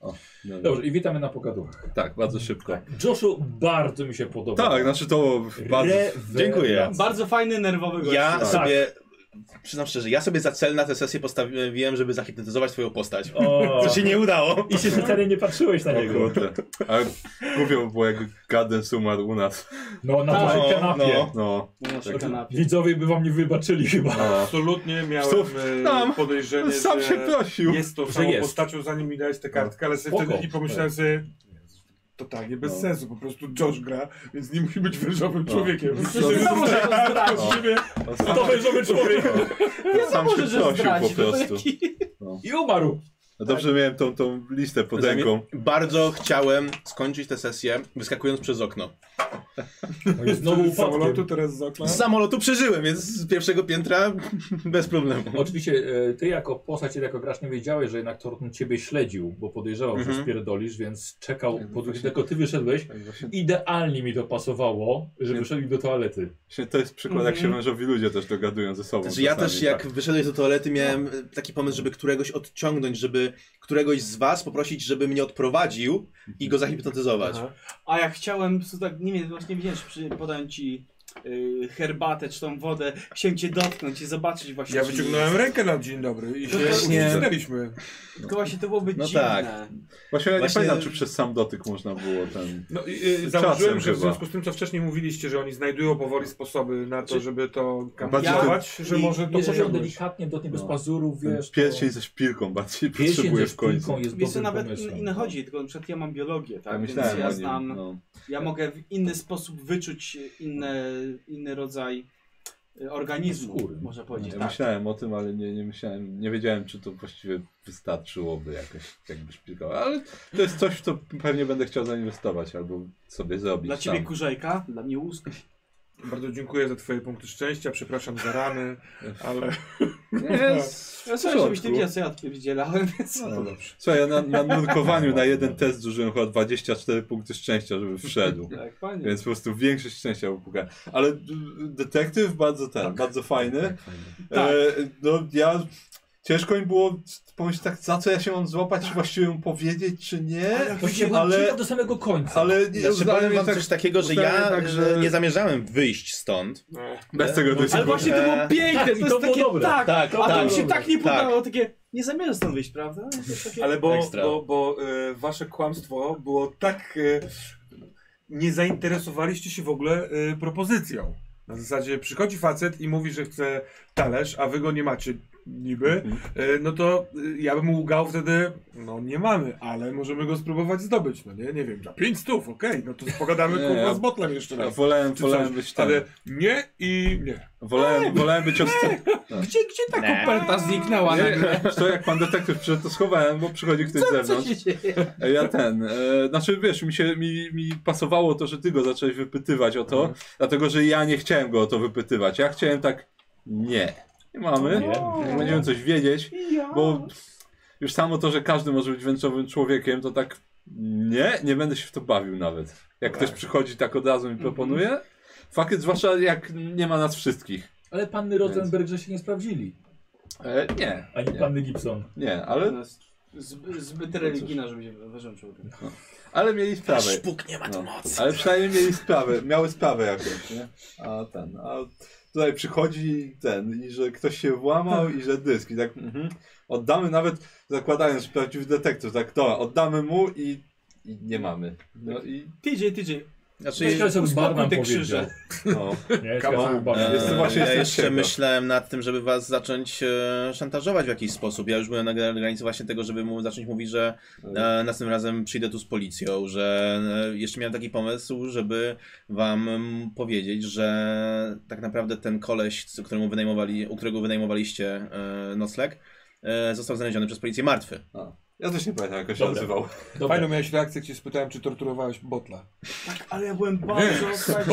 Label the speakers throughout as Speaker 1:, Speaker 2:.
Speaker 1: O, dobra.
Speaker 2: Dobrze, i witamy na pogaduchach.
Speaker 1: Tak, bardzo szybko. Tak,
Speaker 2: Joshu bardzo mi się podoba. no,
Speaker 1: znaczy to bardzo.
Speaker 2: Rewelacja.
Speaker 1: Dziękuję.
Speaker 3: Bardzo fajny, nerwowy gość.
Speaker 4: Ja
Speaker 2: Tak.
Speaker 4: sobie, przyznam szczerze, ja sobie za cel na tę sesję postawiłem, żeby zahipnotyzować swoją postać.
Speaker 2: O,
Speaker 4: Co się nie udało.
Speaker 2: I się wcale nie patrzyłeś na
Speaker 1: O
Speaker 2: niego.
Speaker 1: kurde. Ale głupio by było jak Gardens umarł u nas.
Speaker 2: No, na
Speaker 3: Tak.
Speaker 2: waszej
Speaker 4: No,
Speaker 2: kanapie.
Speaker 4: no.
Speaker 1: No.
Speaker 3: Na naszej kanapie.
Speaker 2: Widzowie by wam nie wybaczyli chyba.
Speaker 1: no.
Speaker 5: Absolutnie miałem
Speaker 1: Psów
Speaker 5: e,
Speaker 1: nam.
Speaker 5: podejrzenie,
Speaker 1: Sam
Speaker 5: że
Speaker 1: się prosił.
Speaker 5: jest to
Speaker 2: Że
Speaker 5: samą
Speaker 2: jest.
Speaker 5: postacią, zanim mi dałeś tę kartkę, ale sobie
Speaker 2: Spoko.
Speaker 5: wtedy i pomyślałem sobie, totalnie bez
Speaker 1: No.
Speaker 5: sensu, po prostu Josh gra, więc nie musi być wężowym człowiekiem.
Speaker 3: No może to zdradzić.
Speaker 1: tak. On
Speaker 2: To wężowy człowiek.
Speaker 1: sam
Speaker 3: Może,
Speaker 1: się
Speaker 3: że
Speaker 1: prosił po
Speaker 3: zdradzić. No to
Speaker 1: prostu.
Speaker 3: jaki-
Speaker 2: I umarł.
Speaker 1: No Dobrze miałem tą, tą listę pod ręką.
Speaker 4: Bardzo chciałem skończyć tę sesję wyskakując przez okno.
Speaker 2: No i znowu
Speaker 5: Z samolotu,
Speaker 2: upadkiem.
Speaker 5: teraz z
Speaker 3: No.
Speaker 5: okna.
Speaker 4: Z samolotu przeżyłem, więc z pierwszego piętra bez problemu.
Speaker 2: Oczywiście e, ty jako postać, ty jako gracz nie wiedziałeś, że jednak Thornton ciebie śledził, bo podejrzewał, że
Speaker 4: Mhm.
Speaker 2: spierdolisz, więc czekał,
Speaker 1: Jakby
Speaker 2: pod...
Speaker 1: właśnie-
Speaker 2: tylko ty wyszedłeś.
Speaker 1: Tak, Właśnie,
Speaker 2: Idealnie mi to pasowało, że wyszedł do toalety.
Speaker 1: właśnie to jest przykład, jak się mężowi ludzie też dogadują ze sobą.
Speaker 4: Znaczy ja
Speaker 1: czasami,
Speaker 4: też jak
Speaker 1: tak.
Speaker 4: wyszedłeś do toalety miałem e, taki pomysł, żeby któregoś odciągnąć, żeby któregoś z was poprosić, żeby mnie odprowadził i go zahipnotyzować.
Speaker 5: Aha.
Speaker 3: A ja chciałem, co tak, nie wiem, właśnie widziałem, że przy, podałem ci y, herbatę czy tą wodę, chciałem cię dotknąć i zobaczyć właśnie.
Speaker 5: Ja
Speaker 3: czy-
Speaker 5: wyciągnąłem rękę na dzień dobry i się
Speaker 4: Właśnie.
Speaker 5: uścisnęliśmy.
Speaker 3: Tylko właśnie to byłoby
Speaker 4: No
Speaker 3: dziwne.
Speaker 4: tak.
Speaker 1: Właśnie ja nie
Speaker 4: właśnie-
Speaker 1: pamiętam, czy przez sam dotyk można było ten...
Speaker 5: No i y, założyłem, że w
Speaker 1: chyba.
Speaker 5: związku z tym, co wcześniej mówiliście, że oni znajdują powoli sposoby na to,
Speaker 3: Znaczy-
Speaker 5: żeby to
Speaker 1: Bardziej
Speaker 5: kamuflować, że
Speaker 3: i-
Speaker 5: może to
Speaker 2: Jeżeli on
Speaker 5: posiągnąć.
Speaker 2: delikatnie dotnie bez
Speaker 1: No.
Speaker 2: pazurów,
Speaker 1: ten
Speaker 2: wiesz... to-
Speaker 1: pierścień ze szpilką bardziej
Speaker 2: Pierścień
Speaker 1: potrzebuje
Speaker 2: ze
Speaker 1: w końcu.
Speaker 2: szpilką jest
Speaker 3: Wiesz, co,
Speaker 2: dobrym
Speaker 3: nawet
Speaker 2: pomysłem.
Speaker 3: inne chodzi, tylko na przykład ja mam biologię,
Speaker 1: tak. Ja
Speaker 3: tak? Więc
Speaker 1: myślałem o
Speaker 3: ja
Speaker 1: nim,
Speaker 3: znam,
Speaker 1: no.
Speaker 3: ja mogę w inny sposób wyczuć inne, inny rodzaj y, organizmu,
Speaker 2: Skóry.
Speaker 3: można powiedzieć.
Speaker 1: Ja
Speaker 3: tak.
Speaker 1: myślałem o tym, ale nie, nie myślałem, nie wiedziałem, czy to właściwie wystarczyłoby jakoś, jakby szpilkowa. Ale to jest coś, w co pewnie będę chciał zainwestować albo sobie zrobić
Speaker 3: Dla ciebie
Speaker 1: sam.
Speaker 3: kurzejka, dla mnie łusk.
Speaker 5: Bardzo dziękuję za twoje punkty szczęścia, przepraszam za rany, ale...
Speaker 1: Nie, jest
Speaker 3: Ja
Speaker 1: w
Speaker 3: sobie żebyś nie
Speaker 1: porządku.
Speaker 3: wiedział, co ja odpierdzielałem, więc...
Speaker 5: No to dobrze.
Speaker 1: Słuchaj, ja na, na nurkowaniu na jeden test zużyłem chyba 24 punkty szczęścia, żeby wszedł.
Speaker 3: Tak, fajnie.
Speaker 1: Więc po prostu większość szczęścia upukałem. Ale y, detektyw bardzo ten, bardzo fajny.
Speaker 3: Tak.
Speaker 1: E, no ja... Ciężko mi było pomyśleć tak, za co ja się mam złapać, czy właściwie ją powiedzieć, czy nie.
Speaker 2: To się
Speaker 1: Ale-
Speaker 2: ale... do samego końca.
Speaker 1: Ale nie
Speaker 4: Ja
Speaker 1: uznałem
Speaker 4: powiem wam
Speaker 1: tak,
Speaker 4: coś takiego, że
Speaker 1: uznałem
Speaker 4: ja
Speaker 1: tak,
Speaker 4: e,
Speaker 1: że-
Speaker 4: nie zamierzałem wyjść stąd.
Speaker 1: Bez tego dość
Speaker 3: Ale właśnie to było piękne,
Speaker 2: Tak, i to
Speaker 3: to, jest
Speaker 2: było
Speaker 3: takie,
Speaker 2: dobre.
Speaker 3: tak,
Speaker 4: Tak,
Speaker 3: a to
Speaker 4: tak.
Speaker 3: mi się tak nie
Speaker 4: Tak.
Speaker 3: podobało, takie, nie zamierzasz stąd wyjść, prawda? To jest takie-
Speaker 5: Ale bo,
Speaker 4: Ekstra.
Speaker 5: bo, bo e, wasze kłamstwo było tak... E, nie zainteresowaliście się w ogóle e, propozycją. Na zasadzie przychodzi facet i mówi, że chce talerz, a wy go nie macie niby,
Speaker 1: Mhm.
Speaker 5: e, no to e, ja bym łgał wtedy, no nie mamy, ale możemy go spróbować zdobyć, no nie, nie wiem, za pięć stów, okej, no to pogadamy
Speaker 1: Nie,
Speaker 5: kurwa
Speaker 1: ja-
Speaker 5: z botlem jeszcze
Speaker 1: Ja
Speaker 5: raz.
Speaker 1: No, wolałem,
Speaker 5: Czy
Speaker 1: wolałem
Speaker 5: coś,
Speaker 1: być tam.
Speaker 5: Ale nie i nie.
Speaker 1: Wolałem, wolałem być od...
Speaker 3: Gdzie, gdzie ta
Speaker 4: Nie.
Speaker 3: koperta zniknęła?
Speaker 1: Nie, to jak pan detektyw przyszedł, to schowałem, bo przychodzi ktoś z
Speaker 3: Co
Speaker 1: zewnątrz.
Speaker 3: się dzieje?
Speaker 1: Ja ten, e, znaczy wiesz, mi się, mi, mi pasowało to, że ty go zacząłeś wypytywać o to, dlatego, że ja nie chciałem go o to wypytywać. Ja chciałem tak, nie, nie mamy,
Speaker 2: Nie.
Speaker 1: jak będziemy coś wiedzieć, bo już samo to, że każdy może być węczowym człowiekiem, to tak, nie, nie będę się w to bawił nawet. Jak ktoś przychodzi tak od razu mi
Speaker 4: Mhm.
Speaker 1: proponuje, fakt jest, zwłaszcza jak nie ma nas wszystkich.
Speaker 2: Ale panny Rosenberg, że się nie sprawdzili.
Speaker 1: E, nie,
Speaker 2: Ani
Speaker 1: Nie.
Speaker 2: panny Gibson.
Speaker 1: nie, ale,
Speaker 3: Zbyt, zbyt religijna, żeby się wyważał człowiek.
Speaker 1: ale mieli sprawę.
Speaker 4: Szpuk nie ma tu
Speaker 1: No.
Speaker 4: mocy.
Speaker 1: Ale przynajmniej mieli sprawę, miały sprawę jakąś, nie? A ten, a tutaj przychodzi ten i że ktoś się włamał i że dysk i tak mhm. oddamy nawet, zakładając że prawdziwy detektyw, tak to, oddamy mu i, i nie mamy. No i
Speaker 3: TJ, TJ,
Speaker 4: Znaczy,
Speaker 2: Myślę, że
Speaker 3: uspokój
Speaker 2: bar nam
Speaker 3: te
Speaker 2: powiedział.
Speaker 3: krzyże.
Speaker 1: no.
Speaker 2: Nie, Skalson bar
Speaker 4: e,
Speaker 1: Jest to
Speaker 2: powiedział.
Speaker 1: właśnie-
Speaker 4: ja
Speaker 1: jestem
Speaker 4: jeszcze
Speaker 1: ciekaw.
Speaker 4: myślałem nad tym, żeby was zacząć e, szantażować w jakiś sposób. Ja już byłem na gra- granicy właśnie tego, żeby mu zacząć mówić, że e, następnym razem przyjdę tu z policją, że e, jeszcze miałem taki pomysł, żeby wam mm, powiedzieć, że tak naprawdę ten koleś, z- któremu wynajmowali, u którego wynajmowaliście e, nocleg, e, został znaleziony przez policję martwy.
Speaker 1: Ja też nie pamiętam jak on się
Speaker 2: Dobra.
Speaker 1: nazywał.
Speaker 2: Dobra.
Speaker 5: Fajną miałeś reakcję, jak się spytałem, czy torturowałeś botla.
Speaker 3: tak, ale ja byłem bardzo, słuchajcie,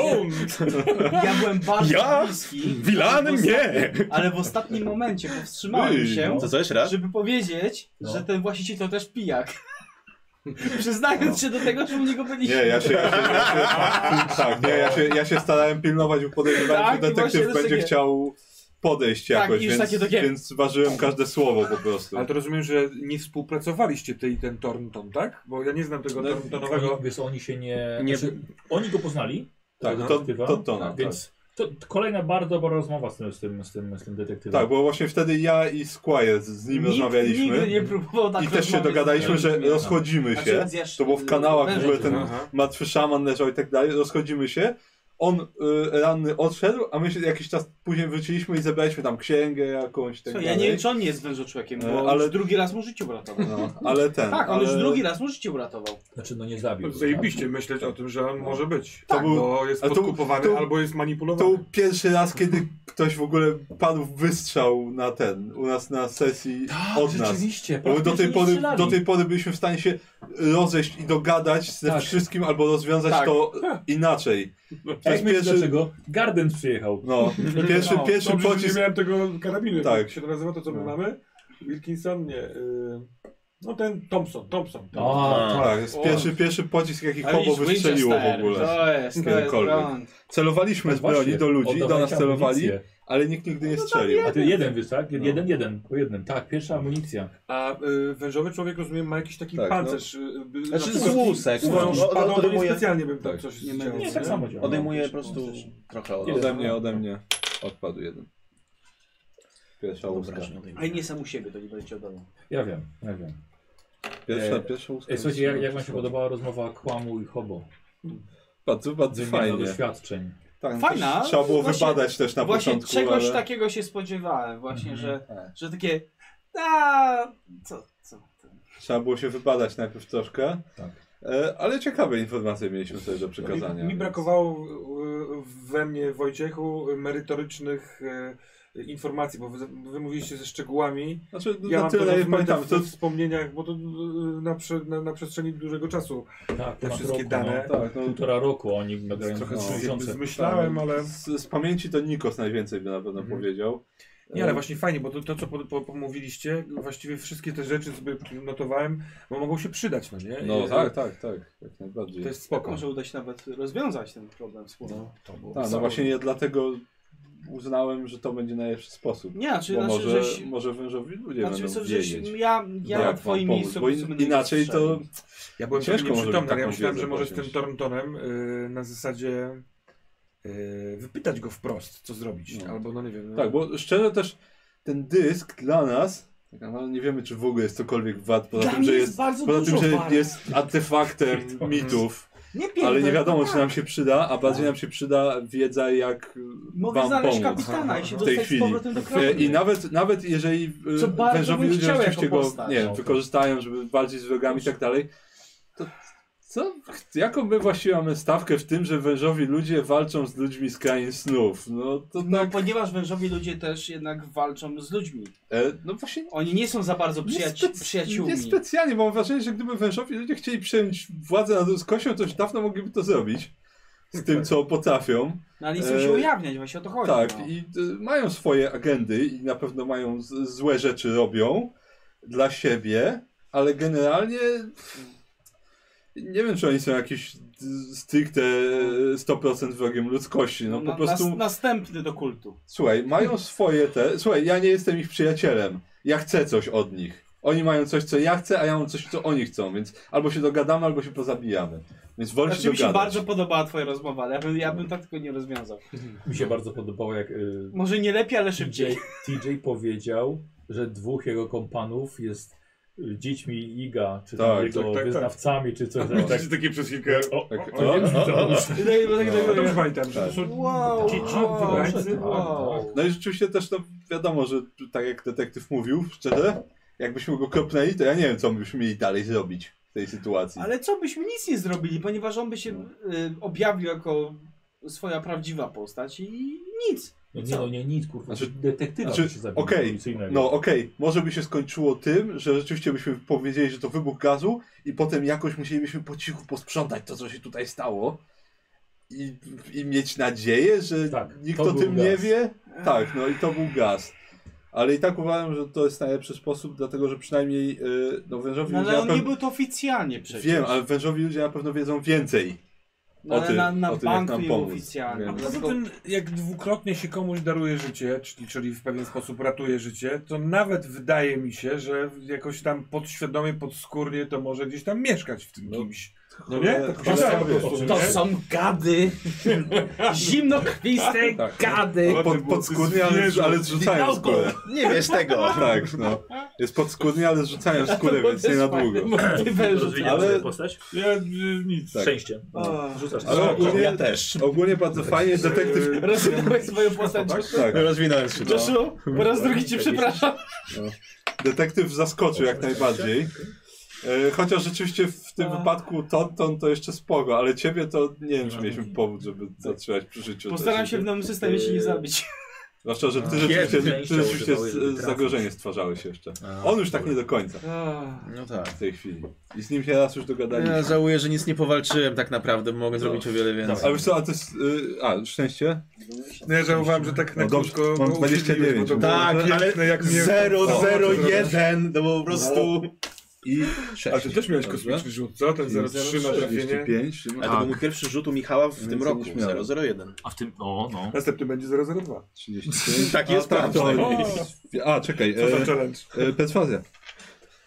Speaker 3: ja byłem bardzo
Speaker 4: Ja?
Speaker 3: bliski.
Speaker 4: Wilan?
Speaker 3: ale w
Speaker 4: Nie! no.
Speaker 3: ostatnim- Ale w ostatnim momencie powstrzymałem
Speaker 1: Ej,
Speaker 3: się,
Speaker 4: Co, co jeszcze raz?
Speaker 3: żeby powiedzieć,
Speaker 2: No.
Speaker 3: że ten właściciel to też pijak. Przyznając się do tego, że u niego
Speaker 1: Nie,
Speaker 3: byliśmy.
Speaker 1: ja się, ja się, ja się tak, nie, ja się, ja się starałem pilnować, bo podejrzewałem,
Speaker 3: Tak,
Speaker 1: że
Speaker 3: i właśnie
Speaker 1: detektyw będzie
Speaker 3: dosygnie.
Speaker 1: chciał podejść
Speaker 3: Tak,
Speaker 1: jakoś,
Speaker 3: i już
Speaker 1: więc,
Speaker 3: takie takie-
Speaker 1: więc ważyłem każde słowo po prostu.
Speaker 5: Ale to rozumiem, że nie współpracowaliście ty i ten Thornton, tak? Bo ja nie znam tego
Speaker 1: No,
Speaker 5: Thorntonowego.
Speaker 2: Oni, wiesz, oni się nie...
Speaker 4: Nie-
Speaker 2: Znaczy, oni go poznali.
Speaker 1: Tak,
Speaker 2: tego
Speaker 1: to,
Speaker 2: detektywa,
Speaker 1: to, to
Speaker 3: No,
Speaker 1: na, tak.
Speaker 2: Więc to, to kolejna bardzo dobra rozmowa z tym, z tym, z tym, z tym detektywem.
Speaker 1: tak, bo właśnie wtedy ja i Squire z nim rozmawialiśmy
Speaker 3: Nigdy nie próbował tak
Speaker 1: i też się
Speaker 3: rozmawiać.
Speaker 1: dogadaliśmy, że
Speaker 2: Rozumiem.
Speaker 1: rozchodzimy
Speaker 3: Znaczy,
Speaker 1: się.
Speaker 3: raz jeszcze-
Speaker 1: To było w kanałach w ogóle ten
Speaker 5: Aha.
Speaker 1: martwy szaman leżał i tak dalej, rozchodzimy się. On y, ranny odszedł, a my się jakiś czas później wróciliśmy i zebraliśmy tam księgę jakąś i tak
Speaker 3: Co,
Speaker 1: dalej.
Speaker 3: ja nie wiem, czy on nie jest wężoczłekiem,
Speaker 1: E,
Speaker 3: bo
Speaker 1: ale-
Speaker 3: ale... już drugi raz mu życie uratował.
Speaker 1: No, ale ten.
Speaker 3: Tak, on
Speaker 1: ale...
Speaker 3: już drugi raz mu życie uratował.
Speaker 2: Znaczy, no nie zabił. go,
Speaker 5: Zajebiście myśleć o tym, że on może być.
Speaker 1: To
Speaker 5: Tak,
Speaker 1: był-
Speaker 5: bo jest
Speaker 1: No. ale to był-
Speaker 5: podkupowany
Speaker 1: to-
Speaker 5: albo jest
Speaker 1: To
Speaker 5: manipulowany.
Speaker 1: był pierwszy raz, kiedy ktoś w ogóle padł w wystrzał na ten, u nas na sesji
Speaker 2: Tak,
Speaker 1: od nas.
Speaker 2: rzeczywiście.
Speaker 1: Bo my do tej,
Speaker 2: praktycznie
Speaker 1: pory,
Speaker 2: strzelali.
Speaker 1: do tej pory byliśmy w stanie się rozejść i dogadać ze
Speaker 2: Tak.
Speaker 1: wszystkim albo rozwiązać
Speaker 3: Tak.
Speaker 1: to inaczej. To jest
Speaker 2: Jak myślisz,
Speaker 1: pierwszy,
Speaker 2: tak? dlaczego? Garden przyjechał.
Speaker 1: no, pierwszy,
Speaker 5: No,
Speaker 1: pierwszy
Speaker 5: dobrze, że
Speaker 1: pocisk.
Speaker 5: Nie miałem tego karabinu.
Speaker 1: Tak.
Speaker 5: Tak. się to nazywa, to co my
Speaker 1: No.
Speaker 5: mamy? Wilkinson, nie. y, No ten Thompson, Thompson.
Speaker 2: A,
Speaker 4: A,
Speaker 1: Tak, jest
Speaker 3: O.
Speaker 1: pierwszy, pierwszy pocisk, jaki
Speaker 3: Ale
Speaker 1: koło
Speaker 3: iż
Speaker 1: wystrzeliło w
Speaker 3: Winchester,
Speaker 1: ogóle.
Speaker 3: To jest, to jest
Speaker 1: Kiedykolwiek.
Speaker 3: brand.
Speaker 1: Celowaliśmy z broni
Speaker 2: No właśnie,
Speaker 1: do ludzi, do nas
Speaker 2: oddawajcie
Speaker 1: celowali,
Speaker 2: amunicję.
Speaker 1: ale nikt nigdy nie strzelił.
Speaker 2: A ty jeden wiesz, tak?
Speaker 1: No.
Speaker 2: Jeden, jeden, po jednym. Tak, pierwsza amunicja.
Speaker 5: A y, wężowy człowiek, rozumiem, ma jakiś taki
Speaker 1: Tak,
Speaker 5: pancerz. y, by-
Speaker 4: Znaczy
Speaker 5: na przykład-
Speaker 4: z łusek.
Speaker 5: Swoją
Speaker 4: no,
Speaker 5: szpadą to nie
Speaker 4: odejmuje-
Speaker 5: specjalnie bym tam
Speaker 1: Tak.
Speaker 5: coś
Speaker 3: Nie
Speaker 5: chciał,
Speaker 3: mędrcy.
Speaker 2: Nie, tak samo działa.
Speaker 4: Odejmuje po prostu trochę od
Speaker 1: Ode mnie, ode mnie odpadł jeden. Pierwsza łuska.
Speaker 2: no
Speaker 3: Ale nie sam u siebie, to nie będzie oddał.
Speaker 2: Ja wiem, ja wiem.
Speaker 1: Pierwsza,
Speaker 2: Eee,
Speaker 1: pierwsza łuska.
Speaker 2: Ej, słuchajcie, jak, jak wam się podobała rozmowa Kłamu i Hobo?
Speaker 1: Bardzo, bardzo
Speaker 2: Wymiana
Speaker 1: fajnie.
Speaker 2: doświadczeń.
Speaker 1: Tak, no
Speaker 3: Fajna,
Speaker 1: też Trzeba było
Speaker 3: właśnie-
Speaker 1: wybadać też na
Speaker 3: właśnie
Speaker 1: początku.
Speaker 3: czegoś tak-
Speaker 1: ale...
Speaker 3: takiego się spodziewałem, właśnie, że,
Speaker 1: Tak.
Speaker 3: że takie. A, co, co?
Speaker 1: Trzeba było się wybadać najpierw troszkę.
Speaker 2: Tak.
Speaker 1: E, ale ciekawe informacje mieliśmy sobie do przekazania.
Speaker 5: Mi, mi
Speaker 1: więc-
Speaker 5: brakowało y, we mnie, Wojciechu, y, merytorycznych y, informacji, bo wy, wy mówiliście ze szczegółami.
Speaker 1: Znaczy,
Speaker 5: Ja
Speaker 1: na
Speaker 5: mam tyle
Speaker 1: tyle jak
Speaker 5: w,
Speaker 1: pamiętam.
Speaker 5: w,
Speaker 1: To,
Speaker 5: w wspomnieniach, bo to y, na, prze, na, na przestrzeni dużego czasu.
Speaker 2: Tak,
Speaker 5: Te
Speaker 2: ponad
Speaker 5: wszystkie
Speaker 2: roku,
Speaker 5: dane.
Speaker 2: No,
Speaker 1: tak, no,
Speaker 2: półtora roku oni nagrają
Speaker 5: Trochę
Speaker 1: no,
Speaker 2: trzy miesiące.
Speaker 5: zmyślałem, ale...
Speaker 1: z, z pamięci to Nikos najwięcej by na pewno
Speaker 5: Mhm.
Speaker 1: powiedział. E,
Speaker 5: Nie, ale właśnie fajnie, bo to, to co po, po, pomówiliście, właściwie wszystkie te rzeczy sobie notowałem, bo mogą się przydać, no nie?
Speaker 1: No
Speaker 5: I-
Speaker 1: tak, tak, tak. Jak najbardziej.
Speaker 5: To jest spoko.
Speaker 3: Może uda się nawet rozwiązać ten problem wspólny.
Speaker 1: tak, no właśnie ja dlatego uznałem, że to będzie najlepszy sposób.
Speaker 3: Nie, znaczy,
Speaker 1: bo
Speaker 3: znaczy,
Speaker 1: może,
Speaker 3: żeś,
Speaker 1: może wężowi ludzie
Speaker 3: znaczy
Speaker 1: będą
Speaker 3: co,
Speaker 1: wiedzieć.
Speaker 3: żeś, ja, ja
Speaker 1: jak
Speaker 3: na
Speaker 1: wam
Speaker 3: twoim
Speaker 1: pomóc, bo
Speaker 3: miejscu po prostu
Speaker 1: in,
Speaker 3: będę
Speaker 1: inaczej to
Speaker 3: strzelił.
Speaker 5: Ja byłem
Speaker 1: Ciężko
Speaker 5: Ciężko
Speaker 1: może
Speaker 5: nieprzytomny,
Speaker 1: taką
Speaker 5: ale ja myślałem,
Speaker 1: wiedzę
Speaker 5: że może z tym
Speaker 1: posiąść.
Speaker 5: Thorntonem y, na zasadzie y, wypytać go wprost, co zrobić.
Speaker 1: No.
Speaker 5: Albo no nie wiem. No,
Speaker 1: Tak, bo szczerze też ten dysk dla nas, tak, no, nie wiemy czy w ogóle jest cokolwiek wad, poza
Speaker 3: Dla
Speaker 1: tym,
Speaker 3: mnie
Speaker 1: że
Speaker 3: jest
Speaker 1: jest,
Speaker 3: bardzo
Speaker 1: poza
Speaker 3: dużo
Speaker 1: tym, że
Speaker 3: wart.
Speaker 1: jest artefaktem mitów,
Speaker 3: Nie pierdol,
Speaker 1: ale nie wiadomo czy
Speaker 3: tak.
Speaker 1: nam się przyda, a bardziej nam się przyda wiedza jak
Speaker 3: Mogę
Speaker 1: wam
Speaker 3: znaleźć
Speaker 1: pomóc.
Speaker 3: kapitana i się
Speaker 1: w tej
Speaker 3: dostać
Speaker 1: chwili.
Speaker 3: z powrotem do
Speaker 1: E,
Speaker 3: kraju.
Speaker 1: I nawet, nawet jeżeli e,
Speaker 3: Co bardzo
Speaker 1: wężowi
Speaker 3: bym
Speaker 1: ludzie
Speaker 3: chciał jako
Speaker 1: rzeczywiście go
Speaker 3: postać.
Speaker 1: nie, wiem, wykorzystają, żeby walczyć z wrogami i tak dalej, to co, jaką my właściwie mamy stawkę w tym, że wężowi ludzie walczą z ludźmi z krain snów? No to
Speaker 3: No,
Speaker 1: tak,
Speaker 3: ponieważ wężowi ludzie też jednak walczą z ludźmi.
Speaker 1: e, no właśnie
Speaker 3: Oni nie są za bardzo przyjaci-
Speaker 1: spec-
Speaker 3: przyjaciółmi.
Speaker 1: Nie specjalnie, bo mam wrażenie, że gdyby wężowi ludzie chcieli przejąć władzę nad ludzkością, to już dawno mogliby to zrobić. Z tym, co potrafią.
Speaker 3: No, ale nie chcą się
Speaker 1: E,
Speaker 3: ujawniać, właśnie o to chodzi.
Speaker 1: Tak,
Speaker 3: no.
Speaker 1: i y, mają swoje agendy i na pewno mają z, złe rzeczy robią dla siebie, ale generalnie pff, nie wiem, czy oni są jakiś y, stricte 100% wrogiem ludzkości. No po
Speaker 3: Na-
Speaker 1: prostu...
Speaker 3: nas- następny do kultu.
Speaker 1: Słuchaj, mają swoje te. Słuchaj, ja nie jestem ich przyjacielem. Ja chcę coś od nich. Oni mają coś, co ja chcę, a ja mam coś, co oni chcą, więc albo się dogadamy, albo się pozabijamy. Więc wolę
Speaker 3: Znaczy
Speaker 1: się
Speaker 3: mi się
Speaker 1: dogadać.
Speaker 3: bardzo podobała twoja rozmowa, ale ja bym, ja bym tak tego nie rozwiązał.
Speaker 2: Mi się bardzo podobało, jak y,
Speaker 3: Może nie lepiej, ale
Speaker 2: TJ,
Speaker 3: szybciej.
Speaker 2: TJ powiedział, że dwóch jego kompanów jest y, dziećmi Iga, czy tam
Speaker 1: Tak,
Speaker 2: jego
Speaker 5: tak, tak, tak.
Speaker 2: wyznawcami, czy coś tak, tak.
Speaker 5: takie przez chwilkę.
Speaker 2: O,
Speaker 1: Tak,
Speaker 2: o, nie wiem, no.
Speaker 1: o,
Speaker 2: co
Speaker 1: o, o.
Speaker 2: to
Speaker 3: I tak- tak- tak-
Speaker 5: Ja
Speaker 1: No.
Speaker 5: dobrze pamiętam, że
Speaker 1: Tak.
Speaker 5: to są
Speaker 3: Wow,
Speaker 5: dzieci
Speaker 3: wow,
Speaker 5: wybrańcy.
Speaker 2: wow.
Speaker 1: No i rzeczywiście też no, wiadomo, że tu, tak jak detektyw mówił, szczerze, jakbyśmy go kopnęli, to ja nie wiem, co byśmy mieli dalej zrobić w tej sytuacji.
Speaker 3: Ale co byśmy nic nie zrobili, ponieważ on by się y, objawił jako swoja prawdziwa postać i nic.
Speaker 2: No nie, no nie, nic, kurwa.
Speaker 1: Znaczy-
Speaker 2: detektywa
Speaker 1: znaczy,
Speaker 2: by się zabił
Speaker 1: okej,
Speaker 2: policyjnego.
Speaker 1: No okej, może by się skończyło tym, że rzeczywiście byśmy powiedzieli, że to wybuch gazu i potem jakoś musielibyśmy po cichu posprzątać to, co się tutaj stało i, i mieć nadzieję, że
Speaker 2: Tak,
Speaker 1: nikt
Speaker 2: to
Speaker 1: o
Speaker 2: był
Speaker 1: tym nie
Speaker 2: gaz.
Speaker 1: wie. Tak, no i to był gaz. Ale i tak uważam, że to jest najlepszy sposób, dlatego że przynajmniej yy, no wężowi
Speaker 3: No,
Speaker 1: ludzie
Speaker 3: ale
Speaker 1: na
Speaker 3: on nie
Speaker 1: pewno...
Speaker 3: był to oficjalnie przecież.
Speaker 1: Wiem, ale wężowi ludzie na pewno wiedzą więcej
Speaker 3: No,
Speaker 1: O
Speaker 3: ale
Speaker 1: tym-
Speaker 3: na, na
Speaker 1: o tym, jak
Speaker 3: banku
Speaker 1: nam
Speaker 3: nie
Speaker 1: pomóc.
Speaker 3: oficjalnie. No,
Speaker 1: Wiem.
Speaker 5: Poza tym, jak dwukrotnie się komuś daruje życie, czyli, czyli w pewien sposób ratuje życie, to nawet wydaje mi się, że jakoś tam podświadomie, podskórnie to może gdzieś tam mieszkać w tym
Speaker 1: No.
Speaker 5: kimś. No nie? Tak
Speaker 1: Cholera,
Speaker 5: myślałem po
Speaker 1: wiesz,
Speaker 5: prostu,
Speaker 2: to
Speaker 5: nie?
Speaker 6: są gady. Zimnokrwiste
Speaker 5: Tak.
Speaker 6: gady.
Speaker 5: No,
Speaker 1: Pod, podskórnie, ale, ale zrzucają skórę.
Speaker 4: Nie wiesz tego.
Speaker 1: Tak, no. Jest podskórnie, ale zrzucają skórę, więc nie na długo.
Speaker 2: Rozwijam
Speaker 1: ale-
Speaker 2: ale... postać?
Speaker 5: Ja y, nic.
Speaker 1: Tak.
Speaker 2: Szczęście.
Speaker 3: O.
Speaker 2: Rzucasz
Speaker 1: Ale
Speaker 2: to.
Speaker 1: ogólnie-
Speaker 4: Ja też.
Speaker 1: Ogólnie bardzo fajnie, detektyw...
Speaker 5: Yy,
Speaker 3: Rozwinąłeś swoją postać.
Speaker 5: tak?
Speaker 1: Tak,
Speaker 4: Rozwinąłem się. No.
Speaker 3: Joshu, po raz drugi cię przepraszam.
Speaker 1: detektyw zaskoczył jak najbardziej. E, Chociaż rzeczywiście w tym
Speaker 3: A.
Speaker 1: wypadku Tonton to jeszcze spoko, ale ciebie to nie wiem, czy mieliśmy powód, żeby zatrzymać przy życiu.
Speaker 3: Tak. Postaram się w nowym systemie się nie zabić.
Speaker 1: Zwłaszcza, że ty
Speaker 2: A,
Speaker 1: rzeczywiście,
Speaker 2: kiedy?
Speaker 1: ty rzeczywiście
Speaker 2: Używałeś, żeby
Speaker 1: z-
Speaker 2: trafić.
Speaker 1: zagrożenie stwarzałeś jeszcze. On już tak nie do końca
Speaker 4: No tak.
Speaker 1: w tej chwili. I z nim się raz już dogadaliśmy.
Speaker 4: Ja żałuję, że nic nie powalczyłem tak naprawdę, bo mogłem zrobić o wiele więcej.
Speaker 1: Ale wiesz co, a to jest... y, A, szczęście?
Speaker 5: No ja żałowałem, że tak na
Speaker 1: No dobrze,
Speaker 5: krótko
Speaker 1: mam no.
Speaker 5: go uświetliłeś,
Speaker 1: 29.
Speaker 5: bo to było
Speaker 4: Tak,
Speaker 5: piękne,
Speaker 4: ale No,
Speaker 5: jak mnie- O,
Speaker 4: 001 to było po prostu...
Speaker 1: I
Speaker 5: A ty też miałeś kosmiczny rzut, co? Ten 03 na trafienie.
Speaker 1: 45. no.
Speaker 4: Ale to był mój pierwszy rzut u Michała w tym
Speaker 1: Więcej
Speaker 4: roku,
Speaker 1: niż miałem.
Speaker 4: 001.
Speaker 6: A w tym. O, no.
Speaker 5: Następny będzie 002.
Speaker 1: 35.
Speaker 4: Tak jest,
Speaker 1: A, tak,
Speaker 4: prawda.
Speaker 1: to... A, czekaj.
Speaker 5: Co za
Speaker 1: E,
Speaker 5: challenge?
Speaker 1: e, perswazja.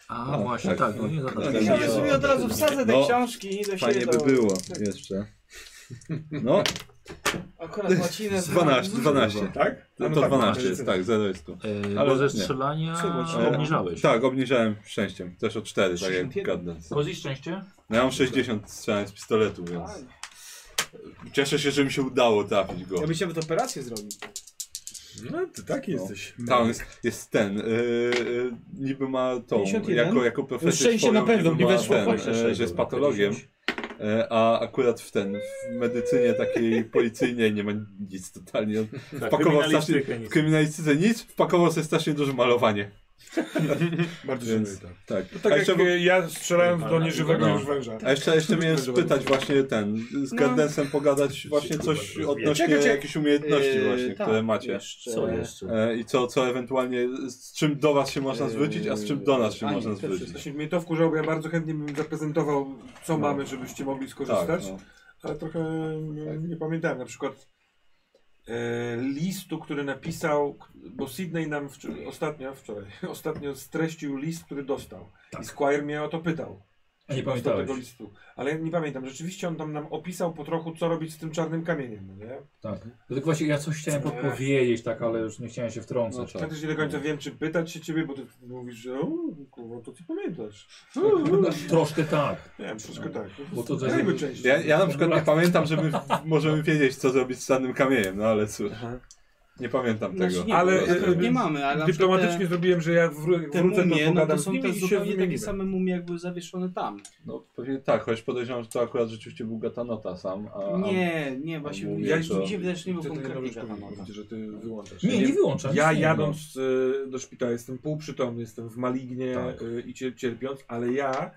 Speaker 6: A,
Speaker 1: O,
Speaker 6: właśnie,
Speaker 1: tak.
Speaker 6: tak. no, nie, za-
Speaker 1: Tak,
Speaker 6: tak.
Speaker 3: Ja już sobie od razu wsadzę te
Speaker 1: No.
Speaker 3: książki i do siebie
Speaker 1: Fajnie by
Speaker 3: to-
Speaker 1: było jeszcze. No,
Speaker 3: Akurat łacinę znam.
Speaker 1: 12, 12.
Speaker 5: Tak?
Speaker 1: To,
Speaker 5: A no
Speaker 1: to
Speaker 5: tak,
Speaker 1: 12
Speaker 5: tak.
Speaker 1: jest, tak, 0 jest tu.
Speaker 6: Yy,
Speaker 1: Ale
Speaker 6: bo
Speaker 1: nie.
Speaker 6: ze strzelania
Speaker 3: Trzeba-
Speaker 6: obniżałeś.
Speaker 1: Tak, obniżałem szczęściem. Też o 4, tak jak
Speaker 3: 61.
Speaker 1: gadnę.
Speaker 6: Kozi szczęście?
Speaker 1: No ja mam 60 strzelania z pistoletu, więc
Speaker 3: Fajnie.
Speaker 1: cieszę się, że mi się udało trafić go.
Speaker 3: Ja bym chciał operację zrobić.
Speaker 5: No, ty taki jesteś. No,
Speaker 1: Tam jest, jest ten, yy, yy, niby ma tą,
Speaker 3: 51?
Speaker 1: jako, jako profesję
Speaker 6: szczęście
Speaker 1: swoją,
Speaker 6: na pewno
Speaker 1: niby
Speaker 6: mi
Speaker 1: ma
Speaker 6: weszło.
Speaker 1: ten, yy, że jest patologiem, yy, a akurat w ten, w medycynie takiej policyjnej nie ma nic totalnie.
Speaker 2: Tak,
Speaker 1: Wpakował strasznie,
Speaker 2: kryminalistykę,
Speaker 1: w
Speaker 2: nic.
Speaker 1: kryminalistyce nic, wpakował sobie strasznie duże malowanie.
Speaker 5: Bardzo
Speaker 1: Więc-
Speaker 5: szanuję tak.
Speaker 1: Tak.
Speaker 5: No
Speaker 1: a
Speaker 5: tak
Speaker 1: jeszcze,
Speaker 5: jak e, ja strzelałem w do nieżywego
Speaker 1: No.
Speaker 5: już węża.
Speaker 1: a jeszcze, jeszcze miałem
Speaker 5: Żeby-
Speaker 1: spytać właśnie ten, z
Speaker 3: No.
Speaker 1: Gardensem pogadać właśnie coś
Speaker 2: Kurwa,
Speaker 1: odnośnie
Speaker 3: czekaj, czekaj.
Speaker 1: jakichś umiejętności
Speaker 3: Yy,
Speaker 1: właśnie,
Speaker 3: tak,
Speaker 1: które macie.
Speaker 3: Jeszcze.
Speaker 2: Co jeszcze?
Speaker 1: E, I co, co ewentualnie, z czym do was się można zwrócić, a z czym do nas się
Speaker 3: Yy,
Speaker 5: Tak,
Speaker 3: Ani,
Speaker 1: można
Speaker 3: to
Speaker 1: zwrócić.
Speaker 5: Właśnie mnie to wkurzało, bo ja bardzo chętnie bym zaprezentował, co mamy, żebyście mogli skorzystać,
Speaker 1: No. Tak, no. Tak.
Speaker 5: ale trochę mm, nie pamiętałem. Na przykład e, listu, który napisał, k- bo Sydney nam wczor- ostatnio, wczoraj, ostatnio streścił list, który dostał.
Speaker 1: Tak.
Speaker 5: I Squire mnie o to pytał.
Speaker 2: A nie
Speaker 5: dostał tego
Speaker 2: pamiętałeś.
Speaker 5: listu. Ale ja nie pamiętam, rzeczywiście on tam nam opisał po trochu, co robić z tym czarnym kamieniem, no nie?
Speaker 2: Tak. Tylko właśnie ja coś chciałem podpowiedzieć, tak, ale już nie chciałem się
Speaker 1: No
Speaker 2: wtrącać.
Speaker 1: tak.
Speaker 5: Ja też nie do końca wiem, czy pytać się ciebie, bo ty mówisz, że o, kurwa, to ty pamiętasz.
Speaker 2: Troszkę tak.
Speaker 5: Nie wiem, wszystko tak.
Speaker 2: Bo to
Speaker 5: Dajmy
Speaker 2: za-
Speaker 5: część.
Speaker 1: Ja, ja na przykład nie pamiętam, że my w- możemy wiedzieć, co zrobić z czarnym kamieniem, no ale cóż,
Speaker 5: Aha.
Speaker 1: nie pamiętam
Speaker 3: Znaczy,
Speaker 1: tego.
Speaker 3: nie,
Speaker 5: Ale,
Speaker 3: ale
Speaker 5: e,
Speaker 3: nie mamy, ale na przykład
Speaker 5: Dyplomatycznie zrobiłem, że ja wró-
Speaker 3: te, te
Speaker 5: wrócę
Speaker 3: mumie, no to
Speaker 5: do pogadam z
Speaker 3: są
Speaker 5: nimi
Speaker 3: te
Speaker 5: i się
Speaker 3: zupełnie
Speaker 5: wymienimy.
Speaker 3: takie same mumie, jak były zawieszone tam.
Speaker 1: No pewnie tak, choć podejrzewam, że to akurat rzeczywiście był Gatanota sam, a...
Speaker 3: Nie, nie, właśnie
Speaker 1: mumie
Speaker 3: ja
Speaker 1: to-
Speaker 3: mi się wydaje, że nie było
Speaker 5: Ty tego
Speaker 3: konkretnie
Speaker 5: robisz,
Speaker 3: Gatanota.
Speaker 5: że ty wyłączasz.
Speaker 2: Nie, nie wyłączam.
Speaker 5: Ja
Speaker 2: nic nie
Speaker 5: jadąc y, do szpitala jestem półprzytomny, jestem w malignie
Speaker 1: Tak.
Speaker 5: y, i cier- cierpiąc, ale ja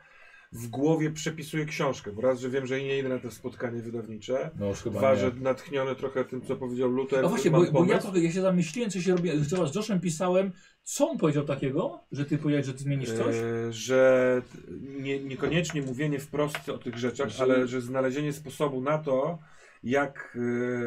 Speaker 5: w głowie przepisuję książkę, bo raz, że wiem, że nie idę na to spotkanie wydawnicze,
Speaker 2: No już chyba
Speaker 5: dwa,
Speaker 2: nie.
Speaker 5: że natchniony trochę tym, co powiedział Luther,
Speaker 2: No właśnie,
Speaker 5: mam
Speaker 2: bo, bo ja
Speaker 5: pomysł.
Speaker 2: trochę ja się zamyśliłem, co się robię. Chyba z Joshem pisałem, co on powiedział takiego, że ty powiedziałeś, że ty zmienisz coś.
Speaker 5: E, że nie, niekoniecznie mówienie wprost o tych rzeczach,
Speaker 1: Że-
Speaker 5: ale że znalezienie sposobu na to, jak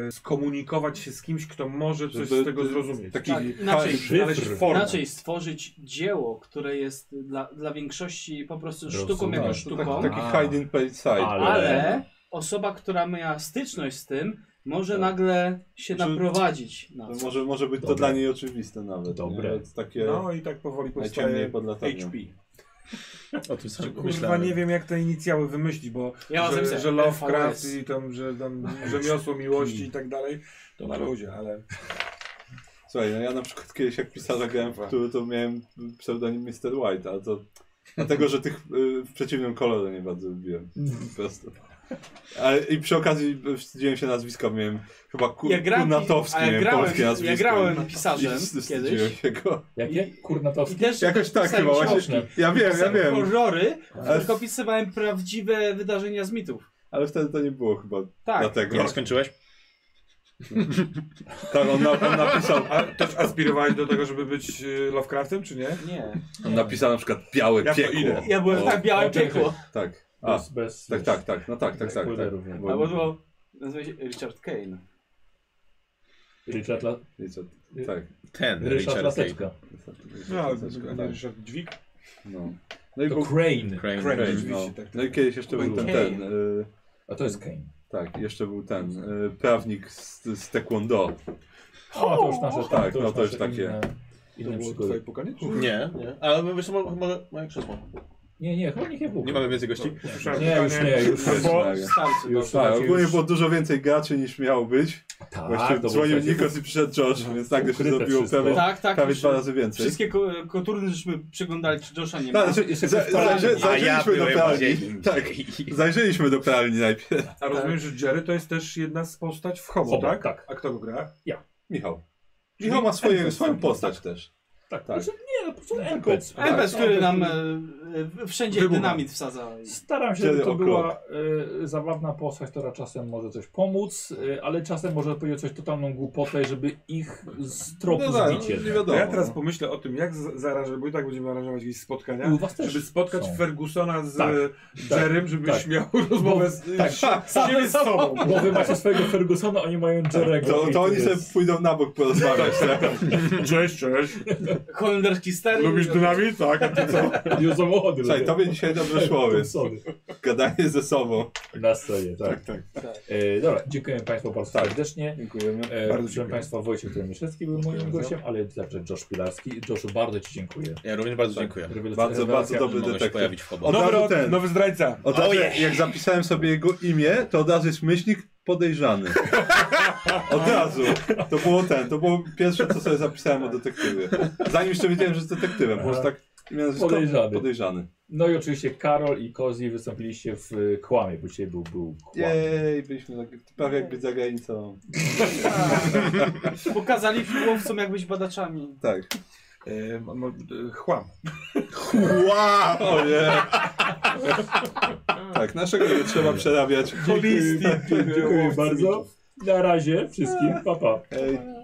Speaker 5: e, skomunikować się z kimś, kto może coś
Speaker 1: Żeby
Speaker 5: z tego
Speaker 1: ty-
Speaker 5: zrozumieć.
Speaker 1: taki
Speaker 3: Tak, inaczej.
Speaker 1: hybrid-
Speaker 5: Znaleźć formę.
Speaker 3: Inaczej stworzyć dzieło, które jest dla, dla większości po prostu sztuką
Speaker 2: Rozumiem.
Speaker 1: Tak,
Speaker 3: jako
Speaker 1: to
Speaker 3: sztuką,
Speaker 1: Taki, taki hide in plain sight.
Speaker 2: Ale-
Speaker 3: ale osoba, która miała styczność z tym, może
Speaker 1: Tak.
Speaker 3: nagle się
Speaker 5: Znaczy,
Speaker 1: Że-
Speaker 3: naprowadzić na
Speaker 1: To
Speaker 3: coś.
Speaker 1: No, może, może być to
Speaker 2: Dobre.
Speaker 1: dla niej oczywiste nawet.
Speaker 2: Dobre.
Speaker 1: Nie? To Takie
Speaker 5: No i tak powoli
Speaker 1: najciemniej
Speaker 5: powstaje
Speaker 1: pod latarnią.
Speaker 5: HP.
Speaker 4: O tym samym
Speaker 5: Kurwa,
Speaker 4: pomyślałem.
Speaker 5: nie wiem jak te inicjały wymyślić, bo
Speaker 3: Ja mam
Speaker 5: że,
Speaker 3: zapisane
Speaker 5: że Lovecraft
Speaker 3: LVS.
Speaker 5: i tam, że tam rzemiosło miłości i tak dalej, to na ludzie, ale
Speaker 1: Słuchaj, no ja na przykład kiedyś jak pisarza grałem w który to miałem pseudonim Mr. White, ale to dlatego, że tych y, w przeciwnym kolorze nie bardzo lubiłem. Po prostu. Ale, I przy okazji y, wstydziłem się nazwiska, miałem chyba ku,
Speaker 3: Ja grałem,
Speaker 1: Kurnatowski,
Speaker 3: a ja
Speaker 1: miałem
Speaker 3: grałem,
Speaker 1: polskie nazwisko.
Speaker 3: ja grałem
Speaker 1: I
Speaker 3: pisarzem
Speaker 1: wst- wstydziłem
Speaker 3: kiedyś.
Speaker 1: się go.
Speaker 2: Jakie?
Speaker 3: I
Speaker 2: Kurnatowski.
Speaker 3: też
Speaker 1: Jakoś tak
Speaker 3: pisałem
Speaker 1: chyba
Speaker 3: książki.
Speaker 1: właśnie. Ja wiem, ja
Speaker 3: Pisałem
Speaker 1: wiem.
Speaker 3: horrory,
Speaker 1: Ale-
Speaker 3: tylko pisywałem prawdziwe wydarzenia z mitów.
Speaker 1: Ale wtedy to nie było chyba
Speaker 3: Tak.
Speaker 1: dlatego.
Speaker 4: Nie no, skończyłeś?
Speaker 1: Tak, on, na, on napisał
Speaker 5: a, też aspirowałeś do tego, żeby być y, Lovecraftem, czy nie?
Speaker 3: Nie.
Speaker 1: On napisał na przykład białe
Speaker 5: Ja to
Speaker 1: piekło.
Speaker 5: idę.
Speaker 3: Ja byłem
Speaker 1: O,
Speaker 3: tak białe
Speaker 2: o, czekaj.
Speaker 3: piekło.
Speaker 1: Tak. A,
Speaker 2: Bez, bez,
Speaker 1: tak, tak, tak, no tak, tak,
Speaker 2: bez
Speaker 1: tak. tak.
Speaker 2: spoilerów, nie?
Speaker 1: Bo-
Speaker 3: Albo było, nazywa się Richard Kane.
Speaker 2: Richard, La,
Speaker 1: Richard, tak.
Speaker 4: Ten,
Speaker 2: Richard
Speaker 4: Richard Clayton.
Speaker 2: Laseczka.
Speaker 5: No,
Speaker 1: Richard, Richard, tak.
Speaker 5: Ryszard Dźwig.
Speaker 1: No. No i
Speaker 2: To
Speaker 1: był
Speaker 2: Crane.
Speaker 4: Crane.
Speaker 5: Crane,
Speaker 1: Crane,
Speaker 5: oczywiście,
Speaker 1: no.
Speaker 5: tak, tak.
Speaker 1: no i kiedyś jeszcze był ten, ten y,
Speaker 2: A to jest Kane.
Speaker 1: tak, jeszcze był ten, y, prawnik z, z taekwondo.
Speaker 2: O, to już nasze,
Speaker 1: tak,
Speaker 2: już
Speaker 1: no to już
Speaker 2: nasze
Speaker 1: takie-
Speaker 2: Inne,
Speaker 5: To
Speaker 2: inne
Speaker 5: było
Speaker 2: przygody.
Speaker 5: twoje pukanie?
Speaker 4: Nie, nie. Ale wiesz, co, może moje krzesło.
Speaker 2: Nie, nie, chyba niech je
Speaker 4: Nie
Speaker 2: puknie.
Speaker 4: mamy więcej gości?
Speaker 5: Usłyszałem
Speaker 2: Nie, już
Speaker 5: pukanie.
Speaker 2: nie, już
Speaker 1: Wiesz,
Speaker 5: Bo-
Speaker 1: Maria.
Speaker 3: Starczy,
Speaker 2: Już
Speaker 1: Tak,
Speaker 2: macie
Speaker 1: ogólnie
Speaker 2: No już-
Speaker 1: było dużo więcej graczy niż miało być.
Speaker 2: Tak, to
Speaker 1: Właśnie
Speaker 2: było
Speaker 1: dzwonił
Speaker 2: takie-
Speaker 1: Nikos i przyszedł Josh, więc tak to się
Speaker 2: Ukryte
Speaker 1: zrobiło
Speaker 2: wszystko.
Speaker 1: prawie,
Speaker 3: Tak, tak.
Speaker 1: prawie
Speaker 3: już
Speaker 1: dwa razy więcej.
Speaker 3: Wszystkie ko- koturny żeśmy przeglądali, czy Josha nie ma.
Speaker 1: Tak, znaczy, za,
Speaker 2: Jeszcze
Speaker 1: za,
Speaker 2: ktoś
Speaker 1: za,
Speaker 3: pralni.
Speaker 4: A ja
Speaker 1: zajrzeliśmy do
Speaker 4: byłem
Speaker 1: pralni.
Speaker 4: dzień.
Speaker 1: Tak, zajrzeliśmy do pralni najpierw.
Speaker 5: A rozumiem, że Jerry to jest też jedna z postać w Hobo,
Speaker 2: Hobo,
Speaker 5: tak?
Speaker 2: tak.
Speaker 5: A kto go gra?
Speaker 1: Michał. Michał ma swoje, swoją postać też.
Speaker 2: Tak,
Speaker 1: Tak.
Speaker 2: tak. Znaczy, nie, no po prostu NPC.
Speaker 1: NPC.
Speaker 3: Ebes,
Speaker 2: Tak,
Speaker 3: który
Speaker 2: tak,
Speaker 3: nam
Speaker 2: tak.
Speaker 3: e, e, wszędzie
Speaker 5: Wybucha.
Speaker 3: dynamit wsadza. i-
Speaker 2: Staram się,
Speaker 1: Kiedy
Speaker 2: żeby to
Speaker 1: o'clock.
Speaker 2: była y, zabawna postać, która czasem może coś pomóc, y, ale czasem może powiedzieć coś totalną głupotę, żeby ich z tropu
Speaker 1: tak,
Speaker 2: zbicie.
Speaker 1: nie
Speaker 5: To
Speaker 1: wiadomo.
Speaker 5: No ja teraz pomyślę o tym, jak z- zarażę, bo i tak będziemy aranżować jakieś spotkania,
Speaker 2: I u was też
Speaker 5: żeby spotkać
Speaker 2: są.
Speaker 5: Fergusona z
Speaker 2: Tak,
Speaker 5: e,
Speaker 2: tak,
Speaker 5: Jerrym, żebyś
Speaker 2: tak.
Speaker 5: miał rozmowę z,
Speaker 2: tak.
Speaker 5: z, z siebie z sobą.
Speaker 2: Bo wy macie swojego Fergusona, oni mają Jerego.
Speaker 1: Tak. To, to oni sobie pójdą na bok porozmawiać, tak?
Speaker 5: Cześć, cześć.
Speaker 3: Holenderski ster. i-
Speaker 5: Lubisz dynamit? Tak, a ty co?
Speaker 2: Już no samochody.
Speaker 1: Słuchaj,
Speaker 2: robią.
Speaker 1: tobie dzisiaj dobrze szło, więc
Speaker 2: Tucsony.
Speaker 1: gadanie ze sobą.
Speaker 2: Tak, Na scenie, tak. E, dobra, dziękujemy Państwu bardzo serdecznie.
Speaker 1: Dziękujemy.
Speaker 2: E,
Speaker 5: Bardzo
Speaker 2: proszę
Speaker 5: dziękuję.
Speaker 2: Państwa, Wojciech Tymiszewski był moim gościem, ale także Josh Pilarski. Joshu, bardzo Ci dziękuję. No,
Speaker 4: Ja również bardzo dziękuję.
Speaker 2: Rewelacja-
Speaker 1: Bardzo, bardzo
Speaker 2: rewelacja.
Speaker 1: dobry
Speaker 4: Mogę się
Speaker 1: detektyw.
Speaker 4: pojawić w Hobo.
Speaker 1: Od razu
Speaker 5: Nowy,
Speaker 1: ten.
Speaker 5: nowy zdrajca.
Speaker 1: Od
Speaker 2: Oh,
Speaker 1: razu,
Speaker 4: Ojej.
Speaker 1: jak zapisałem sobie jego imię, to od razu jest myślnik podejrzany. Od razu. To było ten, to było pierwsze, co sobie zapisałem o detektywie. Zanim jeszcze wiedziałem, że jest detektywem, po prostu tak imię, nazwisko,
Speaker 2: Podejrzany.
Speaker 1: podejrzany.
Speaker 2: No i oczywiście Karol i Kozi wystąpiliście w y, Kłamie, bo dzisiaj był, był Kłam.
Speaker 1: Jej, byliśmy tak, prawie jakby za granicą.
Speaker 3: Tak. Pokazali łowcom jak być badaczami.
Speaker 1: Tak.
Speaker 5: E, mo- e, chłam.
Speaker 1: Wow! Ojej. Tak, naszego nie trzeba przerabiać.
Speaker 2: Dziękuję bardzo. Na razie wszystkim, pa pa.
Speaker 1: Ej.